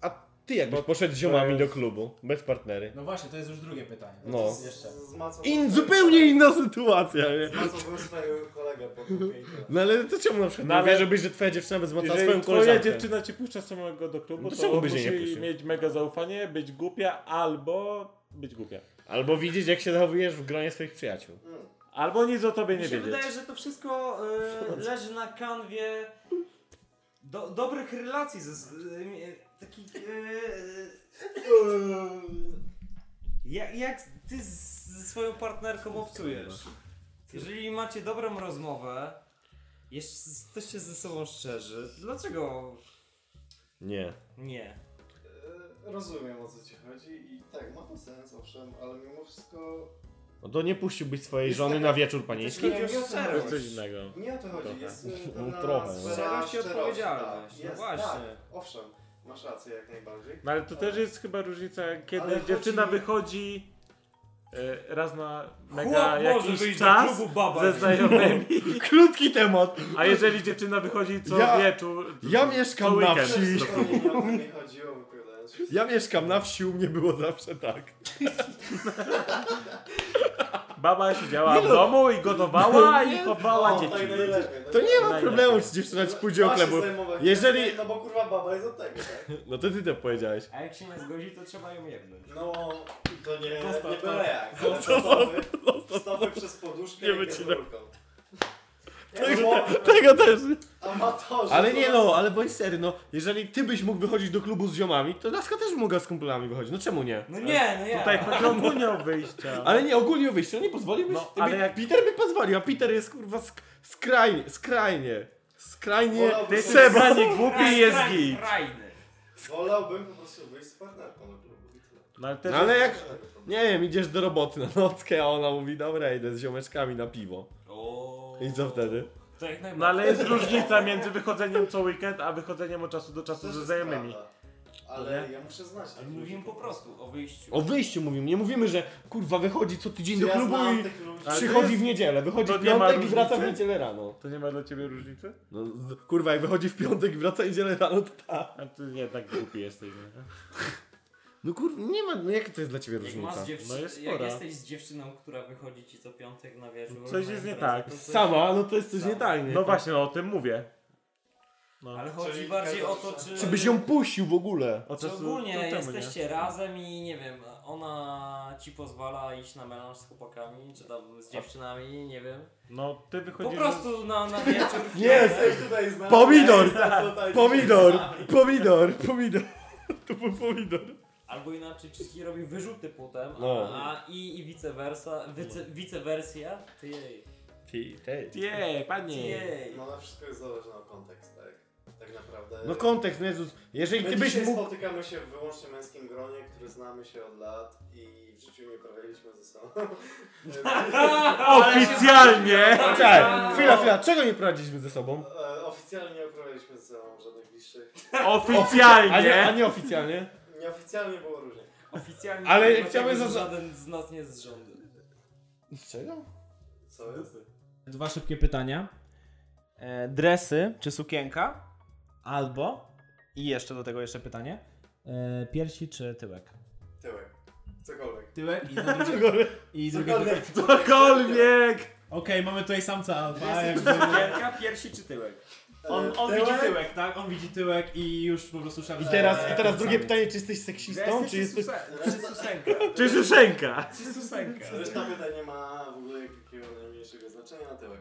A ty jakbyś poszedł z ziomami do klubu, bez partnery?
No właśnie, to jest już drugie pytanie.
No.
To jest Jeszcze.
Zmacowałbym-
In, zupełnie inna sytuacja, nie?
Zmacowałbym swojego kolegę po dupie i tyle.
No ale to czemu na przykład no,
No, ale-
nie wierzyłbyś, że twoja dziewczyna by złamała
Jeżeli
swoją
twoja
koleżankę?
dziewczyna ci puszcza samego do klubu,
No to
to,
czemu by się nie
musi
puścił?
mieć mega zaufanie, być głupia albo być głupia.
Albo widzieć jak się zachowujesz w gronie swoich przyjaciół.
Mm.
Albo nic o tobie
Mi
nie
się
wiedzieć.
wydaje, że to wszystko y, leży na kanwie do, dobrych relacji ze... z- y, takich... y, Jak, jak ty z- ze swoją partnerką obcujesz? Jeżeli macie dobrą rozmowę, jeszcze jesteście ze sobą szczerzy, dlaczego
Nie.
nie?
E, Rozumiem o co ci chodzi i tak, ma to sens, owszem, ale mimo wszystko
No to nie puściłbyś swojej
Jest
żony
taka-
na wieczór panieński?
Jeśli chodzi o
To
szczerość.
jest coś innego.
Nie o to chodzi,
Trochę.
jest y,
No
pewna
trochę, no.
sfera
Szczerość i
szczerości,
odpowiedzialność,
tak,
no
jest,
właśnie.
Tak, owszem, masz rację jak najbardziej.
No ale to też jest chyba różnica, kiedy
Ale chodzi-
dziewczyna wychodzi e, raz na mega
Chłop może
jakiś
wyjść
czas
do klubu baba. No.
ze znajomymi,
Krótki temat.
a jeżeli dziewczyna wychodzi co
Ja-
wieczór...
ja
co
mieszkam na
weekend
wsi.
do
To
klubu.
nie, o to mi chodziło, wypowiadając się.
Ja mieszkam na wsi, u mnie było zawsze tak.
Baba siedziała w
no.
domu i gotowała i chowała
O,
dzieci.
tak najlepiej, no
To nie ma
Najlepiej.
problemu, czy dziewczyna ci pójdzie o
ma się
chlebu.
zajmować,
Jeżeli-
No bo kurwa baba jest od tego, tak?
No to ty to powiedziałeś.
A jak się nie zgodzi, to trzeba ją jebnąć.
No, to nie,
Zostaw
nie
to.
byle jak. Stopy, stopy przez poduszkę
Nie
i
wycinam.
pierdolką.
Tego też.
Amatorzy.
Ale
to
nie
na-
no, ale bądź sery, no. Jeżeli ty byś mógł wychodzić do klubu z ziomami, to laska też mogła z kumplami wychodzić. No czemu nie?
No nie, no ja.
Tutaj chodzi o unią wyjścia.
Ale nie, ogólnie o wyjściu nie pozwoliłbyś?
No,
Ty
ale
by-
jak-
Peter by pozwolił, a Peter jest kurwa sk- skrajnie, skrajnie, skrajnie
Wolałbym-
Ty jesteś
Seba.
dla niej głupi i jest git.
Rajny.
Wolałbym po prostu wyjść z partnerką do klubu i tyle.
No ale też
No, ale jak,
Nie ma żadnego problemu.
nie wiem, idziesz do roboty na nockę, a ona mówi, dobra, idę z ziomeczkami na piwo. I co wtedy?
To jak najbardziej.
No ale jest różnica między wychodzeniem co weekend, a wychodzeniem od czasu do
To
czasu
też
ze
jest
znajomymi.
prawda. Ale
Nie?
ja muszę znać.
Ale
tych
mówimy
ludzi
po prostu o wyjściu.
O wyjściu mówimy, nie mówimy, że kurwa wychodzi co tydzień
Czy
do
ja
klubu
znam
i
tych ludzi?
Ale to
przychodzi
jest-
w niedzielę, wychodzi
to
w
nie ma
piątek i wraca w
różnicy?
niedzielę rano.
To nie ma dla ciebie różnicy?
No, z, kurwa, jak wychodzi w piątek i wraca w niedzielę rano, to ta.
A ty nie, tak głupi jesteś. Nie?
No kurwa, nie ma, no jak to jest dla ciebie
Jak, masz
różnica?
dziewczy...
No jest
jak
spora.
jesteś z dziewczyną, która wychodzi ci co piątek na wieczór.
Coś
na
jest nie
imprezę,
tak.
to coś-
Sama, no to jest coś nie tak, nie?
No właśnie, no o tym mówię.
Ale chodzi
Czyli
bardziej
każda
o to, czy...
przyszła-
Czy byś ją puścił w ogóle?
Od
Czy
czasu
ogólnie
temu, nie?
jesteście razem i nie wiem, ona ci pozwala iść na melanż z chłopakami, czy tam z dziewczynami, nie wiem.
No ty
Po
wychodzisz...
prostu na, na wieczór. w
Nie,
klubie.
Jesteś tutaj z nami.
Pomidor!
Jestem tutaj
Pomidor!
z nami.
Pomidor! Pomidor! To był pomidor.
Albo inaczej, czy ci robi wyrzuty potem,
No.
a, a i, i vice versa, vice, vice versa, ty jej.
Nie, panie.
Jej.
No.
No ale wszystko jest zależne od kontekstu, tak? tak naprawdę.
No kontekst, no Jezus. Jeżeli
My
ty byś
dzisiaj
mógł...
spotykamy się w wyłącznie męskim gronie, który znamy się od lat i w życiu nie uprawialiśmy ze sobą.
Oficjalnie!
Czekaj, chwila, chwila. Czego nie prowadziliśmy ze sobą?
E, Oficjalnie nie uprawialiśmy ze sobą żadnych bliższych.
A nie, a
Oficjalnie!
nie oficjalnie?
Nieoficjalnie było różnie.
Oficjalnie
Ale
nie ma
chciałbym
tego, że
zaznaczyć-
Żaden z nas nie jest z rządu.
Czego?
Co jest?
Dwa szybkie pytania. E, dresy czy sukienka? Albo, i jeszcze do tego jeszcze pytanie, e, piersi czy tyłek?
Tyłek. Cokolwiek.
Tyłek i na drugie... I drugie... Okej,
Cokolwiek!
mamy tutaj samca alfa.
Sukienka, piersi czy tyłek?
E,
On, on
tyłek?
widzi tyłek, tak? On widzi tyłek i już po prostu szarżuje.
I
Eee,
teraz, i teraz drugie pytanie, czy jesteś seksistą, czy jesteś...
Czy susenka?
Czy Szyszenka?
Czy susenka?
Zresztą pytań nie ma w ogóle jakiego najmniejszego znaczenia na tyłek.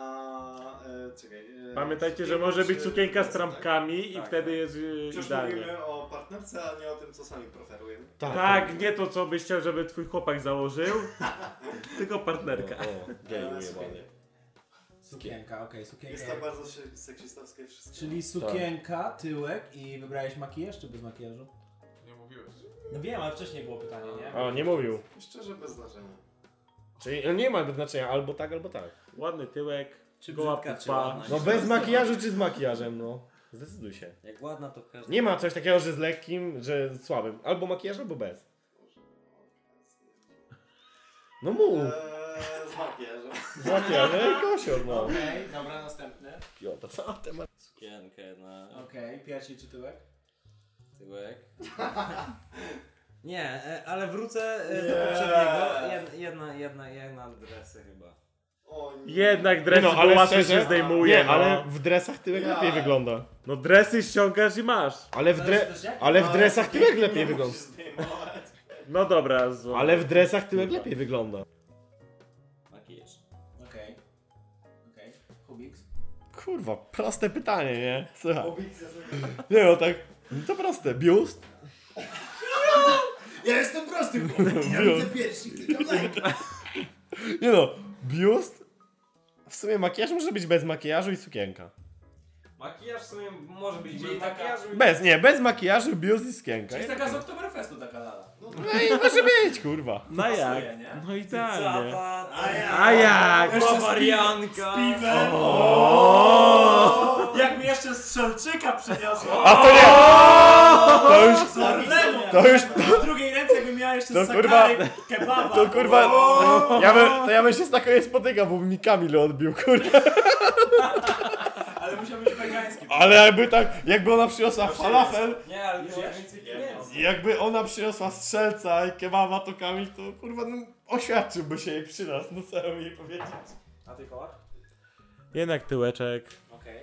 A, e, czekaj. E,
Pamiętajcie, że
sukienka
może być
czy-
sukienka z
tak.
trampkami i
Tak.
wtedy jest y,
Przecież
idealnie.
mówimy o partnerce, a nie o tym, co sami preferujemy.
Tak, nie to co byś chciał, żeby twój chłopak założył, tylko partnerka.
E,
Geju
sukienka.
jebany.
Sukienka, okej, sukienka.
Jest to bardzo se- seksistowskie wszystko.
Tak.
Czyli sukienka, tyłek i wybrałeś makijaż czy bez makijażu?
Nie mówiłeś.
No wiem, ale wcześniej było pytanie, nie?
O, nie mówił.
Szczerze bez znaczenia.
Czyli no nie ma znaczenia, albo tak, albo tak.
Ładny tyłek,
Czy
goła
brzydka, czy
pupa.
ładna?
No bez makijażu, czy z makijażem, no. Zdecyduj się.
Jak ładna to każdy.
Nie ma coś takiego, że z lekkim, że z słabym. Albo makijaż, albo bez. No mów,
Eee, z makijażem.
z makijażem i kosior, no.
Okej, dobra, następny.
Jota, co temat?
Sukienkę na
Okej, piersi czy tyłek?
tyłek. Nie, e, ale wrócę e, do
Nie.
poprzedniego. Jed, jedna, jedna, jedna dresy chyba.
O nie.
Jednak dresy
No,
no,
ale
ale łatwo
szczerze?
się zdejmuje.
Nie,
no.
ale w dresach tyłek
Ja.
lepiej wygląda.
no dresy ściągasz i masz.
Ale w, dre...
Zależy też jak?
ale w dresach tyłek lepiej
Nie
wygląda.
musisz zdejmować.
No dobra, zło.
Ale w dresach tyłek lepiej wygląda.
Makijaż.
Okej. Okej. Hubiks?
Kurwa, proste pytanie, nie? Słuchaj.
Obicja sobie.
Nie no tak, no to proste. Biust?
Ja jestem prosty, bo
Biust.
piersi, klikam like.
Nie no, biust? W sumie makijaż może być bez makijażu i sukienka.
Makijaż w sumie może być
Czyli
bez
taka-
makijażu.
Bez, nie, bez makijażu, biust i sukienka.
Czyli taka z Oktoberfestu taka lala.
No i może być, kurwa.
No jak?
Pasuje, nie?
No idealnie.
Zapad.
A jak?
Bawarianka.
Jak mi jeszcze strzelczyka przyniosło!
A to nie! To już, to już,
W drugiej ręce jakbym miała jeszcze
To kurwa-
sakarek kebaba.
to kurwa,
No!
ja bym, to ja bym się z taką nie spotykał, bo mi Kamil odbił, kurwa.
Ale musiał być wegański.
Ale jakby tak, jakby ona przyniosła falafel,
Nie, ale już
Jesz?
więcej
Jedno.
pieniędzy.
jakby ona przyniosła strzelca i kebaba, to Kamil to, kurwa, no, oświadczyłby się jej przy nas, no co ja mam jej powiedzieć.
A ty koła?
Jednak tyłeczek.
Okej.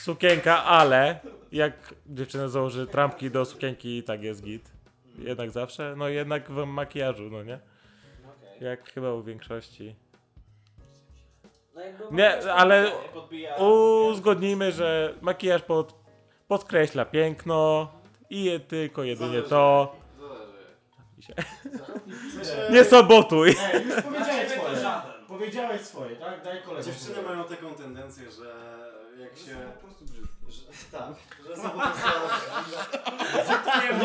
Sukienka, ale jak dziewczyna założy trampki do sukienki, tak jest git. Jednak zawsze, no jednak w makijażu, no nie?
Okej.
Jak chyba u większości.
No jakby
Nie, ale
podbija.
uzgodnijmy, że makijaż pod, podkreśla piękno i je tylko jedynie to.
Zależy. Znaczy,
Nie sobotuj!
Już powiedziałeś
Znaczy,
swoje.
żaden.
Powiedziałeś swoje, tak? Daj kolegę.
Dziewczyny mają taką tendencję, że jak się...
Po prostu brzydkie.
Że, tak, że są po prostu...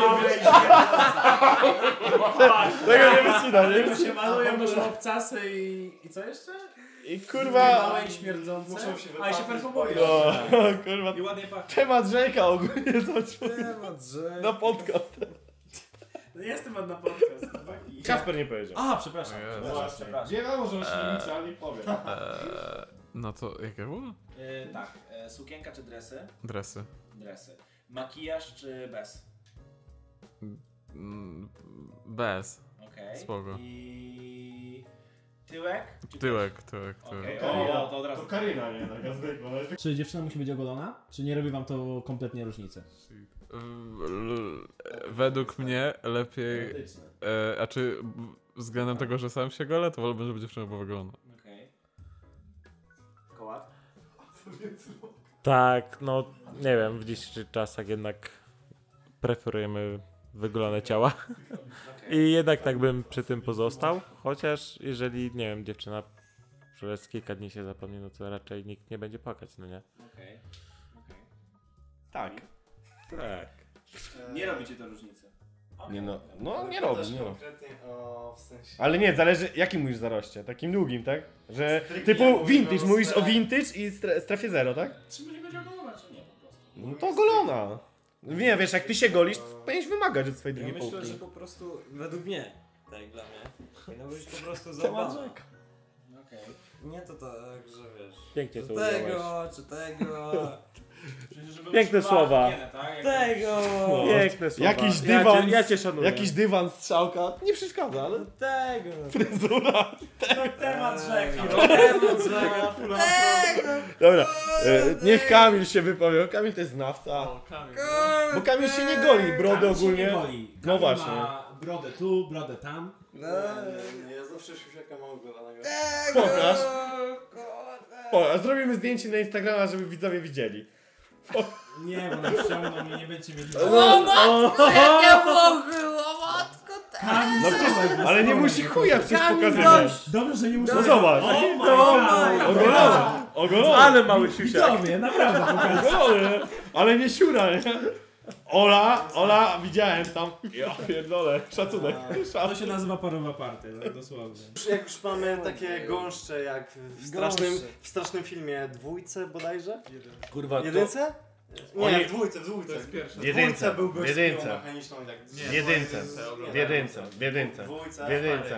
Nie mamy.
Tego nie wycina, nie?
Tylko się malują, może obcasy i... I co jeszcze?
I
Takie
kurwa,
Małe i śmierdzące.
Muszą się
A i się
wypatrzyć,
perfumują.
no, kurwa,
I ładnie pachnie.
temat rzeka ogólnie zaczął na podcast.
No Jestem od na podcast. chłopaki.
Kasper nie powiedział.
A, przepraszam.
Jezu.
Przepraszam. przepraszam.
Nie wiadomo, że on się nie liczy, ale nie powiem.
No to jakie było?
E, tak, e, sukienka czy dresy?
Dresy.
Dresy. Makijaż czy bez?
Mm, Bez.
Okej.
Spoko.
I... Tyłek? Czy
Tyłek, tyłek,
Okej,
tyłek.
o, to od
To
razu.
Karina, nie? Taka zwykła. no.
Czy dziewczyna musi być ogolona? Czy nie robi wam to kompletnie różnicy?
W- l- Według mnie lepiej, e, a czy w- względem tego, że sam się golę, to wolę, żeby dziewczyna była wygląda.
Okej. Kołat?
Tak, no nie wiem, w dzisiejszych czasach jednak preferujemy wyglądę ciała.
Okej.
I jednak tak bym przy tym pozostał. Chociaż jeżeli, nie wiem, dziewczyna przez kilka dni się zapomni, no to raczej nikt nie będzie płakać, no nie?
Okej. Okej.
Tak.
Tak.
E,
Nie robicie to różnicy.
Nie no, no
ale
nie
pytasz
robi, nie robi.
konkretnie o, w sensie...
Ale nie, zależy jakim mówisz zaroście, takim długim, tak? Że
Stricte ja
typu
mówię
vintage,
o
mówisz o
sferach.
vintage i stre- strefie zero, tak?
Czy będzie będzie ogolona, czy nie po prostu?
No to golona. Nie, wiesz, jak ty się golisz, to powinieneś wymagać od swojej
Ja
drugiej
myślę,
połówki.
że po prostu, według mnie, tak dla mnie, powinno być po prostu zabawa.
Okej.
Nie to tak, że wiesz,
Pięknie
czy
to ująłeś.
tego, czy tego,
Czyli, żeby
Piękne
utrzymała
słowa.
higienę, tak? Jak-
tego,
Piękne słowa.
Jakiś
Ja
dywan
cię,
z-
ja cię szanuję.
Jakiś dywan, strzałka, nie przeszkadza, ale
tego,
fryzura.
Temat rzeki.
tego, tego,
Dobra, e, niech Kamil się wypowie, Kamil to jest znawca.
O, kamień.
Bo Kamil się nie goli, brody
Kamil się nie
ogólnie.
goli. Kamil
No właśnie.
Ma brodę tu, brodę tam.
Nie, nie, Eee. ja zawsze siusiaka mam ogolanego.
Eee. Pokaż. O, a zrobimy zdjęcie na Instagrama, żeby widzowie widzieli.
Nie, bo nas ściągną i nie będzie mieli... Kamil,
No
słuchaj,
przecież, ale nie musi chuja przecież
Kamil,
pokazywać.
Dobrze, że nie muszę...
No zobacz.
O my
my
God.
Ogolony. Ogolony.
Ale mały siusiak.
Widzowie, naprawdę pokazuję.
Ogolony. Ale nie siura, nie? Ola, Ola, widziałem tam. Ja pierdolę, szacunek.
To
Szacunek.
się nazywa parowa party, no, dosłownie.
Eee. Już- Jak już mamy takie Eee. gąszcze jak w strasznym, w strasznym filmie dwójce bodajże?
Kurwa,
Jedynce?
Oni-
Nie, w dwójce, w
To
dwójce.
jest pierwsze.
W dwójce był gość z piłą
Jedynce.
mechaniczną i tak...
Nie,
Jedynce.
Nie,
W jedynce, w jedynce.
Dwójce.
Tak. W jedynce.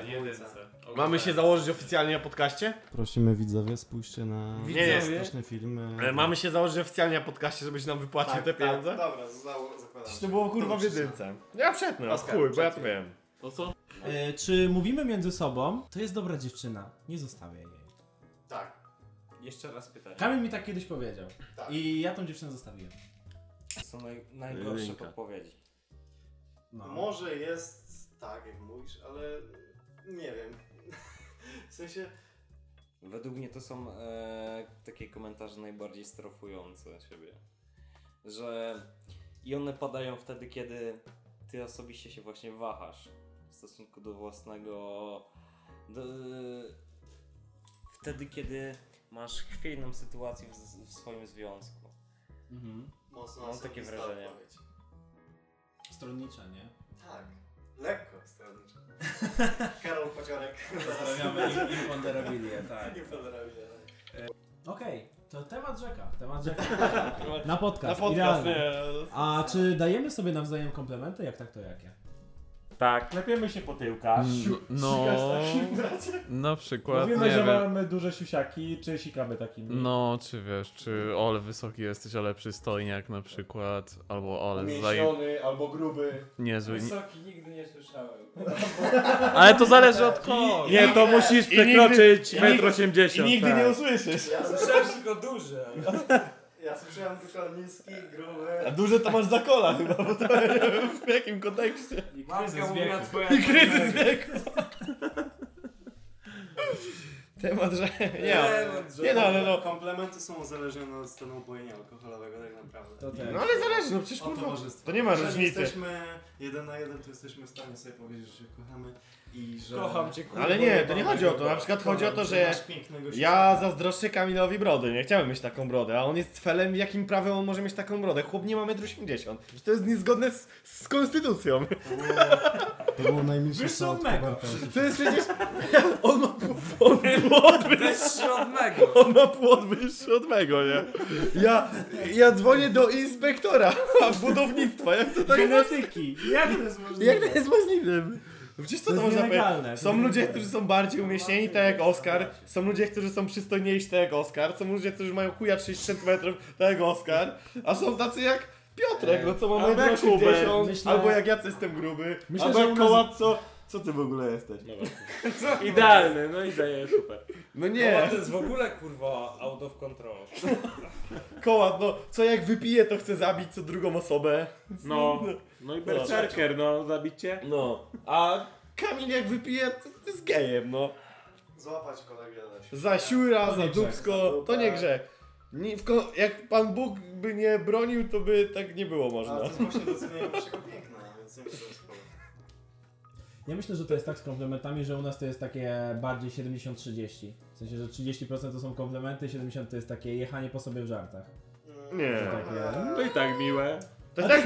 Tak,
Mamy się założyć oficjalnie o podcaście?
Prosimy widzowie, spójrzcie na
Nie, nie.
straszne filmy.
Ale E, Mamy się założyć oficjalnie o podcaście, żebyś nam wypłacił te pieniądze?
Tak, dobra, za- zakładam.
To było kurwa w jedynce. Ja przetnę, a chuj, bo ja to wiem.
O co?
E, czy mówimy między sobą, to jest dobra dziewczyna, nie zostawię jej.
Tak.
Jeszcze raz pytanie.
Kamil mi tak kiedyś powiedział.
Tak.
I ja tą dziewczynę zostawiłem.
To są naj, najgorsze
Jedynka.
podpowiedzi.
No.
Może jest tak, jak mówisz, ale nie wiem. W sensie,
Według mnie to są e, takie komentarze najbardziej strofujące siebie. Że i one padają wtedy, kiedy ty osobiście się właśnie wahasz w stosunku do własnego. Do, e, wtedy, kiedy masz chwiejną sytuację w, z- w swoim związku.
Mhm.
mocno
Mam takie
osobista
wrażenie.
odpowiedź.
Stronnicza, nie?
Tak. Lekko stronniczo. Karol Paciorek.
Pozdrawiamy imponderabilię, tak.
Nie pozdrawiam.
Okej, to temat rzeka. Temat rzeka. Na
Na
podcast,
podcast,
idealnie.
nie.
A czy dajemy sobie nawzajem komplementy? Jak tak, to jakie?
Tak, klepiemy się po tyłkach.
No, na przykład,
Mówimy,
nie
że
wiem,
mamy duże siusiaki, czy sikamy takimi.
no, czy wiesz, czy ole wysoki jesteś, ale przystojniak na przykład, albo ole zaj...
Umięśniony albo gruby.
niezły,
Wysoki nigdy nie słyszałem.
ale to zależy od kogo.
Nie, to musisz
nigdy-
przekroczyć
i
1,80
I
m.
nigdy
tak.
nie usłyszysz.
Ja, słyszę-
Słyszałem tylko duże.
ja słyszałem tylko niski,
A
gruby.
duże to masz za kola chyba, bo to w jakim kontekście?
Matka mówiła twoja...
Kryzys wieku. Temat, że... Nie, nie no, ale no.
Komplementy są uzależnione od stanu upojenia alkoholowego tak naprawdę.
To
No
tak.
ale zależy, no przecież
O
kurwa.
towarzystwo.
To nie ma
Jeżeli
różnicy.
jesteśmy jeden na jeden, to jesteśmy w stanie sobie powiedzieć, że się kochamy i że...
Kocham cię, kurwa.
Ale nie, to nie chodzi o to. Na przykład chodzi o to, że
Masz pięknego
ja zazdroszczę Kamilowi brody. Nie chciałem mieć taką brodę, a on jest felem. Jakim prawem on może mieć taką brodę? Chłop nie ma 1,80 m. To jest niezgodne z, z konstytucją.
To było najmniejsze
Wyszło
co od
mega.
Kubarta.
To jest przecież... On ma, on ma
Wyższy od mego.
On ma płot wyższy od mego, nie? Ja, ja dzwonię do inspektora budownictwa, jak to tak
Genetyki. Jak to jest możliwe?
jak to jest możliwe? Przecież co
To
to,
jest
można
nielegalne.
powiedzieć? Są ludzie, którzy są bardziej umieśnieni, tak jak Oskar. Są ludzie, którzy są przystojniejsi, tak jak Oskar. Są ludzie, którzy mają chuja 30 cm, tak jak Oskar. A są tacy jak Piotrek, no co ma
Albo jak
1,80
Myślę-
albo jak ja co jestem gruby,
Myślę,
albo
że
jak
u nas-
Kołat, co... Co ty w ogóle jesteś?
Idealny, no i daje super.
No
Nie.
nie,
to jest w ogóle kurwa out of control.
Kołat, no co jak wypije, to chce zabić co drugą osobę.
No, no i berserker, no, zabicie.
No, a Kamil jak wypije, to, to jest gejem, no.
Złapać kolegę da się.
Za siura,
To
za
nie grzech.
dubsko, to nie grzech. Nie, w ko- jak Pan Bóg by nie bronił, to by tak nie było
A to
można.
jest właśnie docenienie waszego piękna, więc nie wiem, co jest problem.
Ja myślę, że to jest tak z komplementami, że u nas to jest takie bardziej 70-30. W sensie, że 30% to są komplementy, 70% to jest takie jechanie po sobie w żartach.
Mm,
Nie. No
To i tak miłe.
To i tak,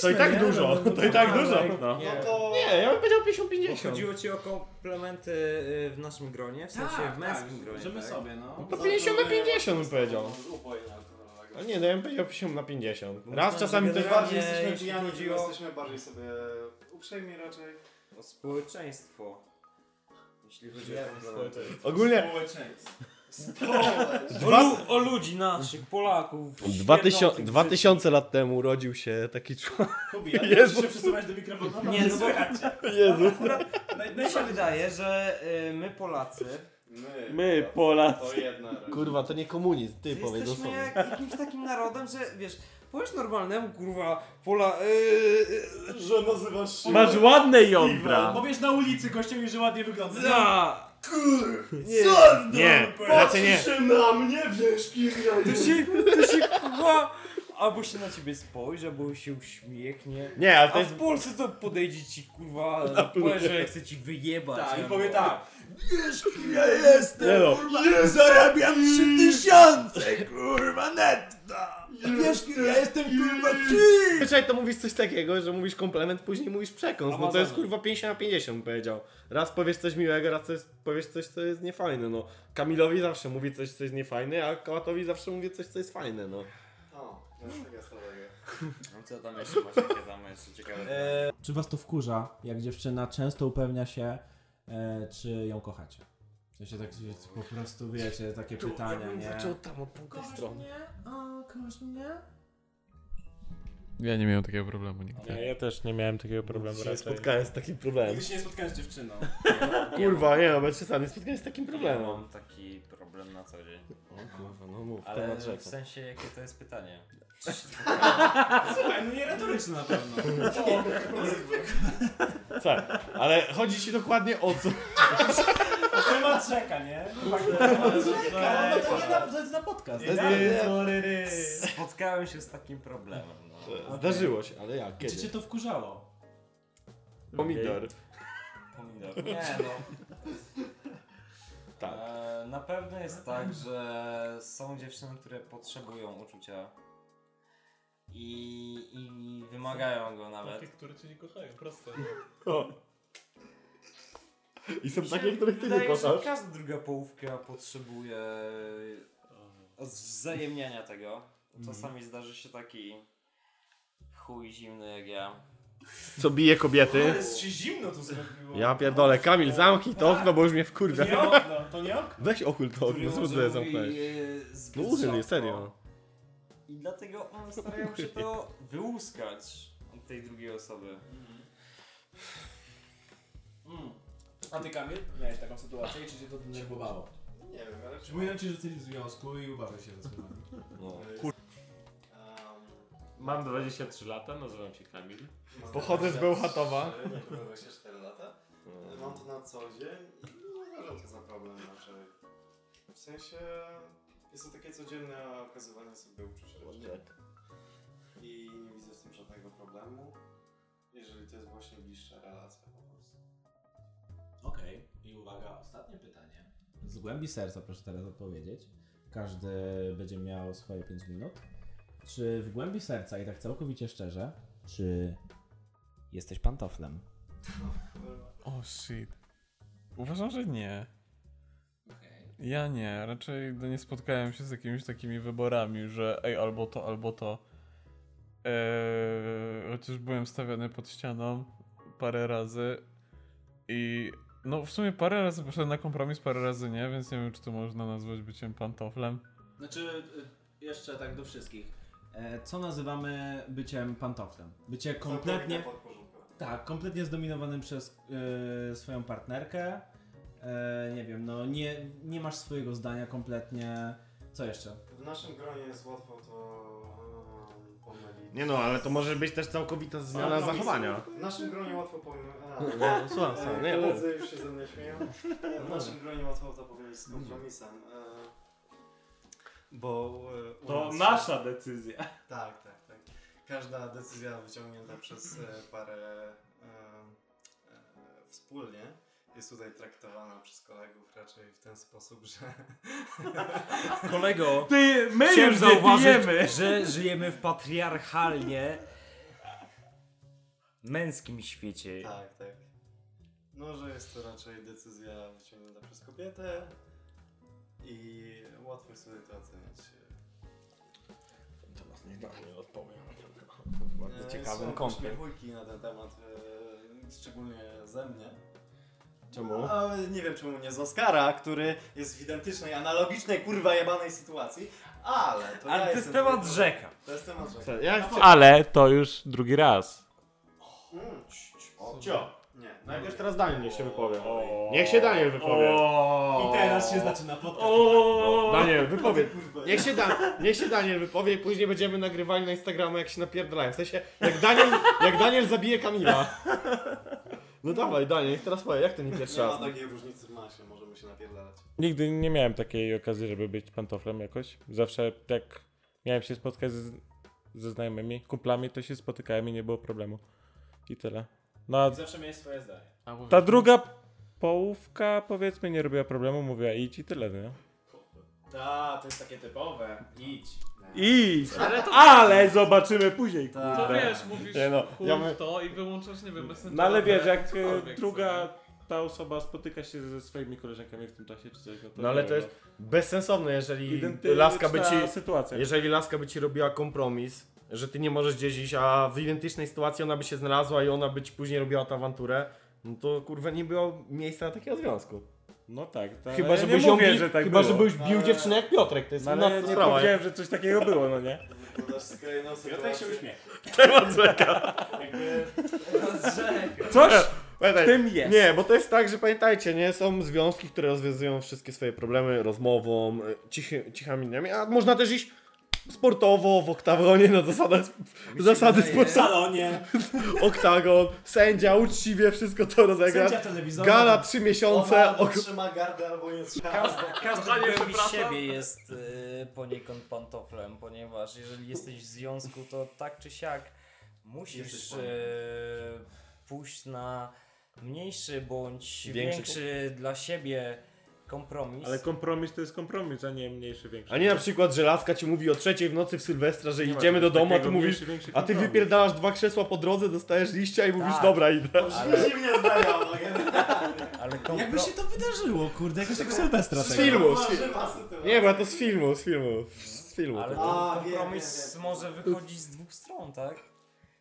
to i tak dużo.
no,
To i tak dużo.
No.
Nie.
to...
Nie, ja bym powiedział
Bo
50-50.
Chodziło ci o komplementy y, w naszym gronie, w sensie
Tak,
w męskim gronie.
Żymy
tak?
sobie, no.
To 50 na 50 bym powiedział.
Uboje alkoholowego.
No nie, no ja bym powiedział 50 na 50.
Bo
Raz
myślałem,
czasami
że
też
generalnie-
bardziej...
Jesteśmy
jeśli
pijani,
chodzi o-
jesteśmy bardziej sobie uprzejmi raczej.
O społeczeństwo. Jeśli chodzi o komplementy.
Ogólnie
O, lu o ludzi naszych, Polaków. świerdzących
2000 lat temu urodził się taki człowiek.
Kubi, ale
Jezu.
Jezu. się przesuwać do mikrofonu.
Nie, no bo
Jezu.
mi się wydaje, że y, my Polacy
My.
My,
To
Polacy.
jedna ręka.
Kurwa, to nie komunizm, ty powiedz
jesteśmy
sobie.
jak, jakimś takim narodem, że wiesz, powiesz normalnemu kurwa Pola... Y, y,
Że nazywasz się...
Masz ładne jądra.
Powiesz na ulicy gościowi, że ładnie wygląda.
za.
Kur...
Nie.
Sanda!
Nie, raczej
Patrzy
nie.
się na mnie, wiesz, kim ja
To się, to się kurwa... Albo się na ciebie spojrzy, albo się uśmiechnie.
Nie, ale to
A
jest...
w Polsce to podejdzie ci kurwa, powie, że chce ci wyjebać. no.
Tak, i
albo-
powie tak.
Wiesz, kim ja jestem,
Nie no.
kurwa! Nie zarabiam trzy tysiące, kurwa, netto! Wiesz, kim ja jestem, kurwa, przy...
Zwyczaj to mówisz coś takiego, że mówisz komplement, później mówisz przekąs. No to jest kurwa 50 na 50 powiedział. Raz powiesz coś miłego, raz coś, powiesz coś, co jest niefajne, no. Kamilowi zawsze mówi coś, co jest niefajne, a Kołatowi zawsze mówi coś, co jest fajne, no.
O, tak to jest taka strategia.
No co tam jeszcze masz, jakie tam jeszcze ciekawe?
Czy was to wkurza, jak dziewczyna często upewnia się, e, czy ją kochacie? W sensie tak że po prostu wiecie, takie pytania, nie?
tam od tamtej
Kochasz mnie? A, kochasz mnie?
Ja nie miałem takiego problemu nigdy.
Nie, ja też nie miałem takiego problemu
Się nie
raczej.
spotkałem z takim problemem.
Nigdy się nie spotkałem z dziewczyną.
Kurwa, nie no, bez przesady, spotkałem się z takim
Ja
problemem.
mam taki problem na co dzień.
O kurwa, no mów,
Ale
temat
w
rzeka.
sensie, jakie to jest pytanie?
Słuchaj, no nie retoryczne na pewno.
Co? Ale chodzi ci dokładnie o co?
Temat rzeka, nie? Temat rzeka, no to nie na, to jest na podcast.
To jest- nie-
Spotkałem się z takim problemem. No.
Zdarzyło się, ale jak?
Czy cię
Kiedy?
to wkurzało?
Pomidor.
Pomidor. Nie no.
Tak.
E, na pewno jest tak, że są dziewczyny, które potrzebują uczucia. I, I wymagają go nawet.
Takie, które cię nie kochają, proste.
I są
Mi
takie,
się
których ty nie
wydaje, że
kochasz.
Każda druga połówka potrzebuje wzajemniania tego.
Mhm.
Czasami zdarzy się taki chuj zimny jak ja.
Co bije kobiety.
Jest się zimno tu zrobiło.
Ja pierdolę, Kamil, zamknij to okno, bo już mnie wkurwia.
Nie okno, to nie okno.
Weź ochul to
który
okno, co
może
ty
mówi,
zamknąłeś?
e, zbyt
No uchyl,
rzadko.
serio.
I dlatego one starają się to wyłuskać od tej drugiej osoby.
Mm. A ty Kamil, miałeś taką sytuację i czy cię to denerwowało?
Nie wiem, ale... No.
Przypominam ci, że jesteś w związku i uważaj się ze słowami.
Um,
Mam 23 lata, nazywam się Kamil.
mam
Pochodzę z Bełchatowa.
23, niedługo 24 lata. Mam to na co dzień i nie uważam to za problem raczej. W sensie jest to takie codzienne okazywanie sobie uczucia raczej. I nie widzę z tym żadnego problemu, jeżeli to jest właśnie bliższa relacja po prostu.
Okej, i uwaga, ostatnie pytanie. Z głębi serca proszę teraz odpowiedzieć. Każdy będzie miał swoje 5 minut. Czy w głębi serca i tak całkowicie szczerze, czy jesteś pantoflem?
O shit. Uważam, że nie.
Okej.
Ja nie, raczej no nie spotkałem się z jakimiś takimi wyborami, że ej, albo to, albo to. Eee, chociaż byłem stawiany pod ścianą parę razy i no w sumie parę razy poszedłem na kompromis, parę razy nie, więc nie wiem, czy to można nazwać byciem pantoflem.
Znaczy, y, jeszcze tak do wszystkich. E, Co nazywamy byciem pantoflem? Bycie kompletnie...
Całkowite podporządkowanie.
Tak, kompletnie zdominowanym przez e, swoją partnerkę. E, nie wiem, no nie, nie masz swojego zdania kompletnie. Co jeszcze?
W naszym gronie jest łatwo to em, pomylić.
Nie no, ale to może być też całkowita zmiana
Kompromis.
zachowania.
W naszym gronie łatwo pomylić.
No, słucham,
E,
słucham, nie mów.
Koledzy już się ze mnie śmieją. E, W naszym gronie łatwo to pomylić z kompromisem. e, Bo e, u nas-
decyzja.
Tak, tak, tak. Każda decyzja wyciągnięta przez e, parę e, e, wspólnie jest tutaj traktowana przez kolegów raczej w ten sposób, że
Kolego,
Ty, my już zauważymy!
że żyjemy w patriarchalnie męskim świecie.
tak, tak. No, że jest to raczej decyzja wyciągnięta przez kobietę i łatwo jest tutaj to oceniać. e, To nas nie odpowiem. Bardzo ciekawym kątem. na ten temat, e, szczególnie ze mnie. Czemu? A, nie wiem czemu nie z Oskara, który jest w identycznej, analogicznej, kurwa jebanej sytuacji, ale to ja
Ale to jest
jestem
temat
tutaj-
rzeka.
To jest temat rzeka.
Ja
Ale to już drugi raz.
Mm, ć, ć, o, ć.
Cio,
Nie, no
najpierw
najpierw
No teraz Daniel niech się wypowie. Niech się Daniel wypowie.
I teraz się zaczyna podcast.
Daniel, wypowiedz.
kurwa.
Niech się, Dan- niech się Daniel wypowie i później będziemy nagrywali na Instagramu jak się napierdalają. W sensie, jak Daniel, jak Daniel zabije Kamila. No dawaj, Daniel, niech teraz powie, jak to nie
No,
pierwszy
Nie
raz?
ma takiej różnicy w masie, możemy się napierdalać.
Nigdy nie miałem takiej okazji, żeby być pantoflem jakoś. Zawsze jak miałem się spotkać z, ze znajomymi, kumplami, to się spotykałem i nie było problemu. I tyle. No a
Zawsze miałeś swoje zdanie.
ta druga połówka powiedzmy nie robiła problemu, mówiła idź i tyle, nie?
Ta, to jest takie typowe. Idź.
Idź! Ale zobaczymy później.
Tak.
To wiesz, mówisz
Nie no,
chuj
ja
w
my-
to i wyłączasz, nie wiem, Messengera,
No ale wiesz, jak e,
cokolwiek
druga ta osoba spotyka się ze swoimi koleżankami w tym czasie czy coś, no to
No ale
nie
to
wiem,
jest bezsensowne,
no.
jeżeli
identyczna
laska by ci
sytuacja.
Jeżeli laska by ci robiła kompromis, że ty nie możesz gdzieś iść, a w identycznej sytuacji ona by się znalazła i ona by ci później robiła tę awanturę, no to kurwa nie było miejsca na takiego związku.
No tak, to,
Chyba,
ale ja
żebyś,
nie
ją
mówię,
bi-
że tak
chyba
było.
żebyś bił
Ale-
dziewczynę jak Piotrek, to jest
No, ale
inna
nie
sprawa.
powiedziałem, że coś takiego było, no nie?
Podasz skrajną sytuację.
Piotrek się uśmiecha.
Coś w
Pamiętaj,
tym jest.
nie, bo to jest tak, że pamiętajcie, nie są związki, które rozwiązują wszystkie swoje problemy rozmową, e, cichy, cichami dniami, a można też iść sportowo, w oktagonie, na zasadach, zasady
W
sportowe,
salonie.
oktagon, sędzia, uczciwie wszystko to rozegrać.
Sędzia telewizora.
Gala trzy miesiące.
Ona
Ok...
albo trzyma gardę, albo nie trzyma.
Każdy, każdy głębi siebie jest y, poniekąd pantoflem, ponieważ jeżeli jesteś w związku, to tak czy siak musisz
Jesteś
y, pójść na mniejszy bądź
Większy.
większy, dla siebie kompromis.
Ale kompromis to jest kompromis, a nie mniejszy, większy.
A nie na przykład, że laska ci mówi o trzeciej w nocy w Sylwestra, że
Nie ma
idziemy do
czegoś
domu, a ty
takiego,
mówisz.
mniejszy, większy
A ty
kompromis.
wypierdalasz dwa krzesła po drodze, dostajesz liścia i mówisz,
Tak.
dobra, idę.
Ale dziwnie znajomo,
ale kompro-
Jakby się to wydarzyło, kurde, jakoś tak Sylwestra
Z
tego.
filmu, z filmu. Nie,
nie?
bo to z filmu, z filmu. Z filmu.
ale
to.
ten
A, wiem,
kompromis
wiem, wiem.
może wychodzić z dwóch stron, tak?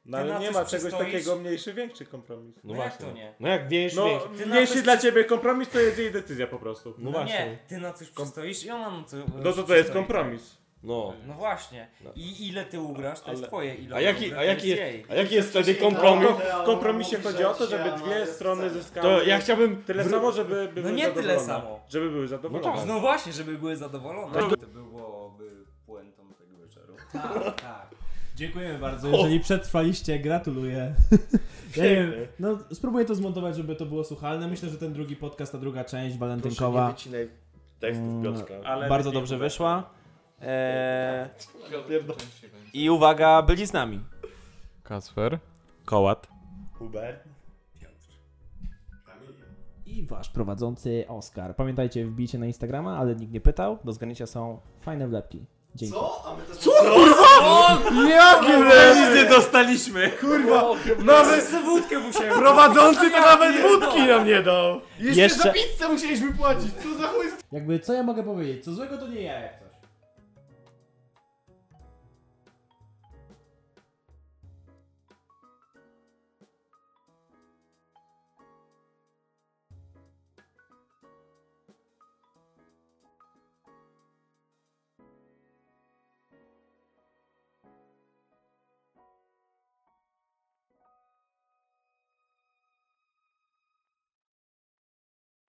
No
Ty na
ale nie
coś
ma czegoś
przystoisz?
takiego mniejszy, większy kompromis.
No, jak to nie?
No jak większy,
No,
większy.
Ty na
mniejszy
coś
dla
przy-
ciebie kompromis to jest jej decyzja po prostu.
No właśnie.
Nie, ty na coś przystoisz i ona na to.
No to to jest kompromis.
No.
No właśnie. I ile ty ugrasz, to jest
Ale-
twoje. Ile
A jaki,
ugra,
a
to
jaki,
jest
jest,
jej.
a jaki jest
Znaczy,
wtedy kompromis?
W kompromisie chodzi o to, żeby dwie strony zyskały
To ja chciałbym.
tyle
wró-
samo, żeby były
No nie tyle
zadowolone.
samo.
Żeby były zadowolone.
No tak.
No właśnie, żeby były zadowolone.
Tak. To byłoby puentą tego wieczoru.
Tak, tak. Dziękujemy bardzo. Jeżeli przetrwaliście, gratuluję. Ja nie wiem, no spróbuję to zmontować, żeby to było słuchalne. Myślę, że ten drugi podcast, ta druga część
Proszę, nie
walentynkowa
wycinaj tekstów Piotrka.
Ale
bardzo
lepiej
dobrze
było.
wyszła.
Eee,
Pierdol-
I uwaga, byli z nami.
Kasper?
Kołat.
Uber.
I wasz prowadzący Oskar. Pamiętajcie, wbijcie na Instagrama, ale nikt nie pytał. Do zgarnięcia są fajne wlepki. Dzięki.
Co? A my też...
Jakie
Nie dostaliśmy!
Kurwa! Nawet
Wódkę musiałem
prowadzący to nawet wódki nam nie dał!
Jeszcze-
pizzę musieliśmy płacić! Co za chuj
Jakby co ja mogę powiedzieć? Co złego to nie ja jak to.